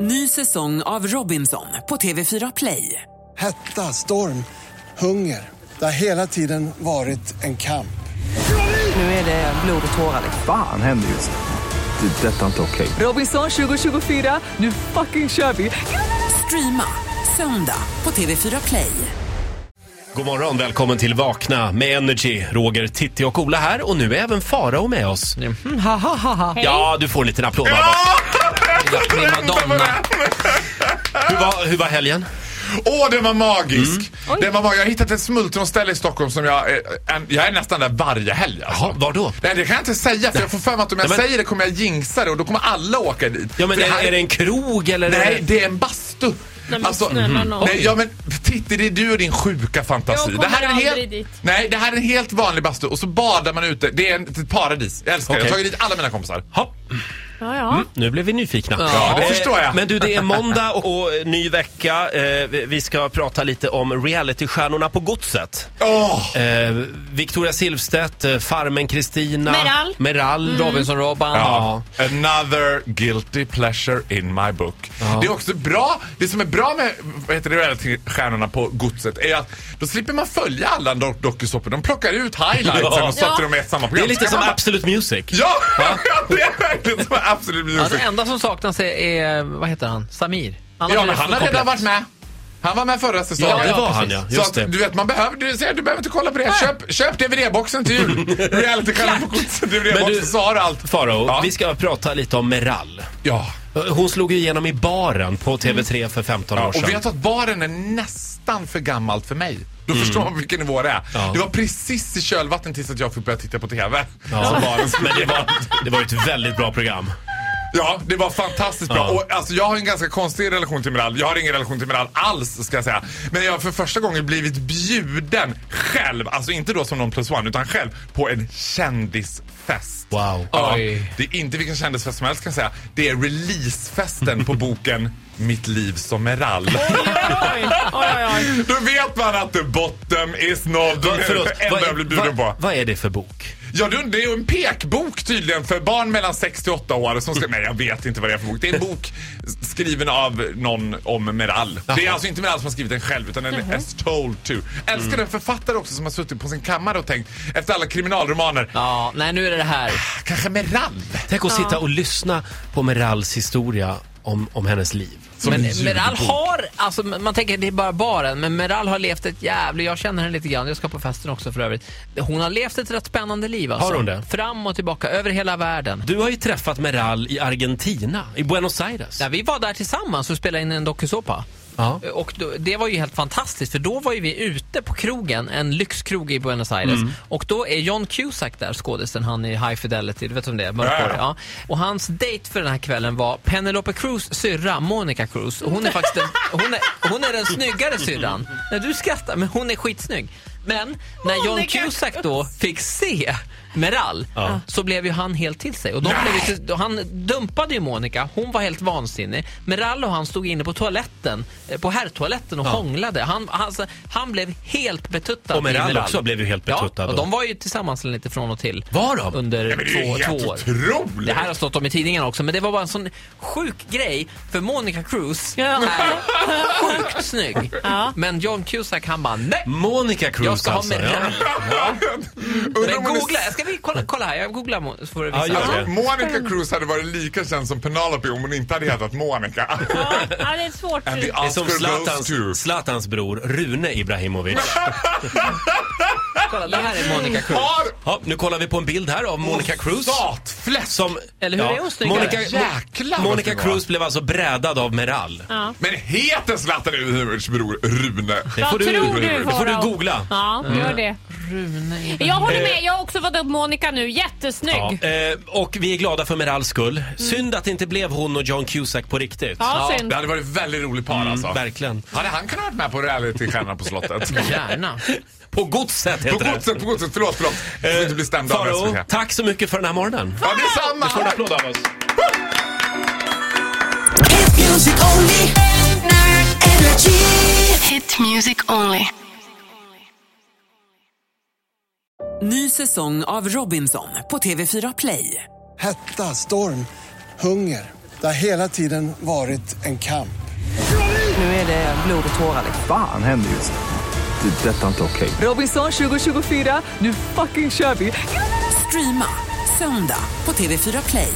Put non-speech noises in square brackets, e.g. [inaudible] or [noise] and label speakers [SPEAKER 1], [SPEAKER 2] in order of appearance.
[SPEAKER 1] Ny säsong av Robinson på TV4 Play.
[SPEAKER 2] Hetta, storm, hunger. Det har hela tiden varit en kamp.
[SPEAKER 1] Nu är det blod och tårar.
[SPEAKER 3] Fan händer just nu. Det. är Detta är inte okej.
[SPEAKER 1] Robinson 2024, nu fucking kör vi! Streama söndag på TV4 Play.
[SPEAKER 4] God morgon, välkommen till Vakna med Energy. Roger, Titti och Ola här och nu är även Farao med oss. Ja, du får en liten applåd av oss.
[SPEAKER 5] Primadonna.
[SPEAKER 4] Hur var, hur var helgen?
[SPEAKER 5] Åh, den var
[SPEAKER 4] Mm.
[SPEAKER 5] magisk! Den var mag- jag har hittat ett smultronställe i Stockholm som jag... eh, en- Jag är nästan där varje helg. Alltså.
[SPEAKER 4] Jaha, var då?
[SPEAKER 5] Nej, det kan jag inte säga för jag får för mig att om jag
[SPEAKER 4] Nej, men-
[SPEAKER 5] säger det kommer jag jinxa det och då kommer alla åka dit.
[SPEAKER 4] Ja, men
[SPEAKER 5] För
[SPEAKER 4] är,
[SPEAKER 5] här-
[SPEAKER 4] är det en krog eller?
[SPEAKER 5] Nej, det är en bastu. Alltså, mm.
[SPEAKER 6] men snälla nån.
[SPEAKER 5] nej, ja, men Titti, det är du och din sjuka fantasi.
[SPEAKER 6] Jag
[SPEAKER 5] det här är en
[SPEAKER 6] kommer
[SPEAKER 5] helt,
[SPEAKER 6] aldrig dit.
[SPEAKER 5] Nej, det här är en helt vanlig bastu och så badar man ute. Det är en, ett paradis. Jag älskar det.
[SPEAKER 4] Okej.
[SPEAKER 5] Jag har tagit dit alla mina kompisar.
[SPEAKER 4] Ja,
[SPEAKER 6] Ja, ja.
[SPEAKER 4] nu blev vi nyfikna. Eh,
[SPEAKER 5] Ja, det förstår jag.
[SPEAKER 4] Men du, det är måndag och, och ny vecka. Eh, vi- vi ska prata lite om realitystjärnorna på godset.
[SPEAKER 5] Åh!
[SPEAKER 4] Eh, Victoria Silvstedt, eh, Farmen Kristina.
[SPEAKER 6] Meral.
[SPEAKER 4] Meral.
[SPEAKER 7] Robinson-Robban.
[SPEAKER 5] Ja. Another guilty pleasure in my book. Det är också bra, det som är bra med vad heter det, realitystjärnorna på godset är att då slipper man följa alla do- dokusåpor. De plockar ut highlightsen
[SPEAKER 4] Ja.
[SPEAKER 5] och sätter
[SPEAKER 6] Ja.
[SPEAKER 5] dem i ett samma
[SPEAKER 4] Det
[SPEAKER 5] program.
[SPEAKER 4] är lite
[SPEAKER 5] Så
[SPEAKER 4] som
[SPEAKER 5] kan man bara-
[SPEAKER 4] Absolute Music.
[SPEAKER 5] [laughs] Ja! det är verkligen som Absolut
[SPEAKER 7] Ja,
[SPEAKER 5] Music.
[SPEAKER 7] det enda som saknas är, är, vad heter han, Samir. Annars
[SPEAKER 5] Ja,
[SPEAKER 7] är
[SPEAKER 5] men
[SPEAKER 7] det
[SPEAKER 5] han har
[SPEAKER 7] komplett. [laughs]
[SPEAKER 5] redan varit med. Han var med förra säsongen.
[SPEAKER 7] Ja, det var
[SPEAKER 4] han, ja.
[SPEAKER 5] Så
[SPEAKER 4] Just
[SPEAKER 5] att,
[SPEAKER 4] det.
[SPEAKER 5] du vet, man behöver, du, säger, du behöver inte kolla på det. Köp, köp DVD-boxen till
[SPEAKER 4] [laughs]
[SPEAKER 5] jul. Realitystjärnorna på godset,
[SPEAKER 4] Men
[SPEAKER 5] DVD-boxen,
[SPEAKER 4] du-
[SPEAKER 5] så har du allt.
[SPEAKER 4] Farao,
[SPEAKER 5] Ja.
[SPEAKER 4] vi ska prata lite om Meral.
[SPEAKER 5] Ja.
[SPEAKER 4] Hon slog ju igenom i baren på TV3 för 15
[SPEAKER 5] Mm. Ja,
[SPEAKER 4] år sedan.
[SPEAKER 5] och vet du att baren är nästan för gammalt för mig. Då förstår man vilken nivå det är.
[SPEAKER 4] Mm. Ja.
[SPEAKER 5] Det var precis i kölvattnet tills att jag fick börja titta på TV.
[SPEAKER 4] Ja.
[SPEAKER 5] Så baren
[SPEAKER 4] [laughs]
[SPEAKER 5] slog
[SPEAKER 4] Men det
[SPEAKER 5] igen.
[SPEAKER 4] var, det var ett väldigt bra program.
[SPEAKER 5] Ja, det var fantastiskt bra.
[SPEAKER 4] Ja.
[SPEAKER 5] Och, alltså, jag har en ganska konstig relation till Meral. Jag har ingen relation till Meral alls, ska jag säga. Men jag har för första gången blivit bjuden själv, alltså inte då som någon plus one, utan själv på en kändisfest.
[SPEAKER 4] Wow.
[SPEAKER 5] Ja,
[SPEAKER 7] Oj.
[SPEAKER 5] det är inte vilken kändisfest som helst kan jag säga. Det är releasefesten på boken Mitt liv som
[SPEAKER 4] [laughs]
[SPEAKER 5] Meral. Då vet man att the bottom is not...
[SPEAKER 4] Va, förlåt,
[SPEAKER 5] [laughs] det enda
[SPEAKER 4] vad,
[SPEAKER 5] jag blir bjuden
[SPEAKER 4] vad,
[SPEAKER 5] på.
[SPEAKER 4] vad är det för bok?
[SPEAKER 5] Ja, det det är ju en pekbok tydligen för barn mellan 6 till 8 år som ska... Nej, jag vet inte vad det är för bok. Det är en bok skriven av någon om Meral. Det är alltså inte Meral som har skrivit den själv utan den är as told to. Älskar den författare också som har suttit på sin kammare och tänkt efter alla kriminalromaner. Ah,
[SPEAKER 7] Ja, nej nu är det det här.
[SPEAKER 5] Kanske Meral?
[SPEAKER 4] Tänk att sitta och lyssna på Merals historia om, om hennes liv.
[SPEAKER 5] Som
[SPEAKER 7] Men
[SPEAKER 5] en ljudbok.
[SPEAKER 7] Meral har, alltså man tänker det är bara baren, men Meral har levt ett jävligt, jag känner henne lite grann, jag ska på festen också för övrigt. Hon har levt ett rätt spännande liv alltså.
[SPEAKER 4] Har hon det?
[SPEAKER 7] Fram och tillbaka, över hela världen.
[SPEAKER 4] Du har ju träffat Meral i Argentina, i Buenos Aires.
[SPEAKER 7] Ja, vi var där tillsammans och spelade in en dokusåpa.
[SPEAKER 4] Ja.
[SPEAKER 7] Och då, det var ju helt fantastiskt för då var ju vi ute på krogen, en lyxkrog i Buenos Aires. Och då är John Cusack där, skådisen, han i High Fidelity, du vet vem det är, mörkhårig. Ja. Och hans dejt för den här kvällen var Penelope Cruz syrra, Monica Cruz. Och hon är faktiskt den, hon är, hon är den snyggare syrran. Nej, du skrattar, men hon är skitsnygg. Men när John
[SPEAKER 6] Monica
[SPEAKER 7] Cusack då fick se Meral
[SPEAKER 4] Ja.
[SPEAKER 7] så blev ju han helt till sig. Och de blev ju till, han dumpade ju Monica, hon var helt vansinnig. Meral och han stod inne på toaletten, eh, på herrtoaletten och hånglade. Han, alltså, han blev helt betuttad.
[SPEAKER 4] Och Meral
[SPEAKER 7] i
[SPEAKER 4] också blev ju helt betuttad
[SPEAKER 7] Ja, och
[SPEAKER 4] då.
[SPEAKER 7] de var ju tillsammans lite från och till.
[SPEAKER 4] Var de?
[SPEAKER 7] Under
[SPEAKER 5] Ja, men det är ju
[SPEAKER 7] två,
[SPEAKER 5] helt
[SPEAKER 7] två år.
[SPEAKER 5] otroligt!
[SPEAKER 7] Det här har stått om i tidningen också, men det var bara en sån sjuk grej för Monica Cruz
[SPEAKER 6] Ja.
[SPEAKER 7] är sjukt snygg. Men John Cusack han bara nej!
[SPEAKER 4] Monica Cruz
[SPEAKER 7] Jag ska ha
[SPEAKER 4] alltså.
[SPEAKER 7] Meral.
[SPEAKER 5] [laughs] Undrar
[SPEAKER 7] Men
[SPEAKER 5] om hon är
[SPEAKER 7] googla, jag ska vi kolla, kolla här, jag googlar mo- så får du
[SPEAKER 4] Ja,
[SPEAKER 7] visa.
[SPEAKER 4] gör
[SPEAKER 5] Alltså,
[SPEAKER 4] det.
[SPEAKER 5] Monica Cruz hade varit lika känd som Penelope om hon inte hade hetat Monica.
[SPEAKER 6] Ja, ja, det är svårt.
[SPEAKER 5] And the
[SPEAKER 4] Det är som
[SPEAKER 5] Oscar goes to...
[SPEAKER 4] Zlatans, Zlatans bror Rune Ibrahimovic.
[SPEAKER 7] Kolla, det här är Monica Cruz.
[SPEAKER 5] Har
[SPEAKER 4] Ja, nu kollar vi på en bild här av Monica Cruz.
[SPEAKER 5] Satfläsk!
[SPEAKER 4] Som,
[SPEAKER 7] Eller hur är hon snyggare?
[SPEAKER 4] Monica,
[SPEAKER 5] Jäklar, vad
[SPEAKER 4] Monica
[SPEAKER 5] snygg hon
[SPEAKER 4] Cruz blev alltså brädad av Meral.
[SPEAKER 6] Ja.
[SPEAKER 5] Men heter Zlatan Ibrahimovic bror Rune?
[SPEAKER 4] Det får
[SPEAKER 6] Vad
[SPEAKER 4] du,
[SPEAKER 6] tror du,
[SPEAKER 4] det får du
[SPEAKER 6] Farao?
[SPEAKER 4] googla.
[SPEAKER 6] Ja, gör det. Jag håller med, jag har också fått upp Monica nu.
[SPEAKER 4] Ja,
[SPEAKER 6] Jättesnygg.
[SPEAKER 4] eh, och vi är glada för Merals skull. Synd att det inte blev hon och John Cusack på riktigt.
[SPEAKER 6] Mm. Ja, synd.
[SPEAKER 5] Det hade varit ett väldigt roligt par alltså.
[SPEAKER 4] Mm, Verkligen.
[SPEAKER 5] Hade han kunnat varit med på realitystjärnorna
[SPEAKER 4] [laughs]
[SPEAKER 5] på slottet?
[SPEAKER 7] Gärna.
[SPEAKER 4] På godset
[SPEAKER 5] på
[SPEAKER 4] heter det. Eh,
[SPEAKER 5] godset, på godset. Förlåt, förlåt. Jag får inte bli stämd av
[SPEAKER 4] Faro,
[SPEAKER 5] SVT.
[SPEAKER 4] tack så mycket för den här morgonen.
[SPEAKER 5] Ja, detsamma!
[SPEAKER 4] Du får en applåd av oss.
[SPEAKER 8] Hit music only. Energy.
[SPEAKER 9] Hit music only.
[SPEAKER 1] Ny säsong av Robinson på TV4 Play.
[SPEAKER 2] Hetta, storm, hunger. Det har hela tiden varit en kamp.
[SPEAKER 1] Nu är det blod och tårar.
[SPEAKER 3] Fan händer just det. Det är detta inte okej.
[SPEAKER 1] Robinson 2024, nu fucking kör vi! Streama söndag på TV4 Play.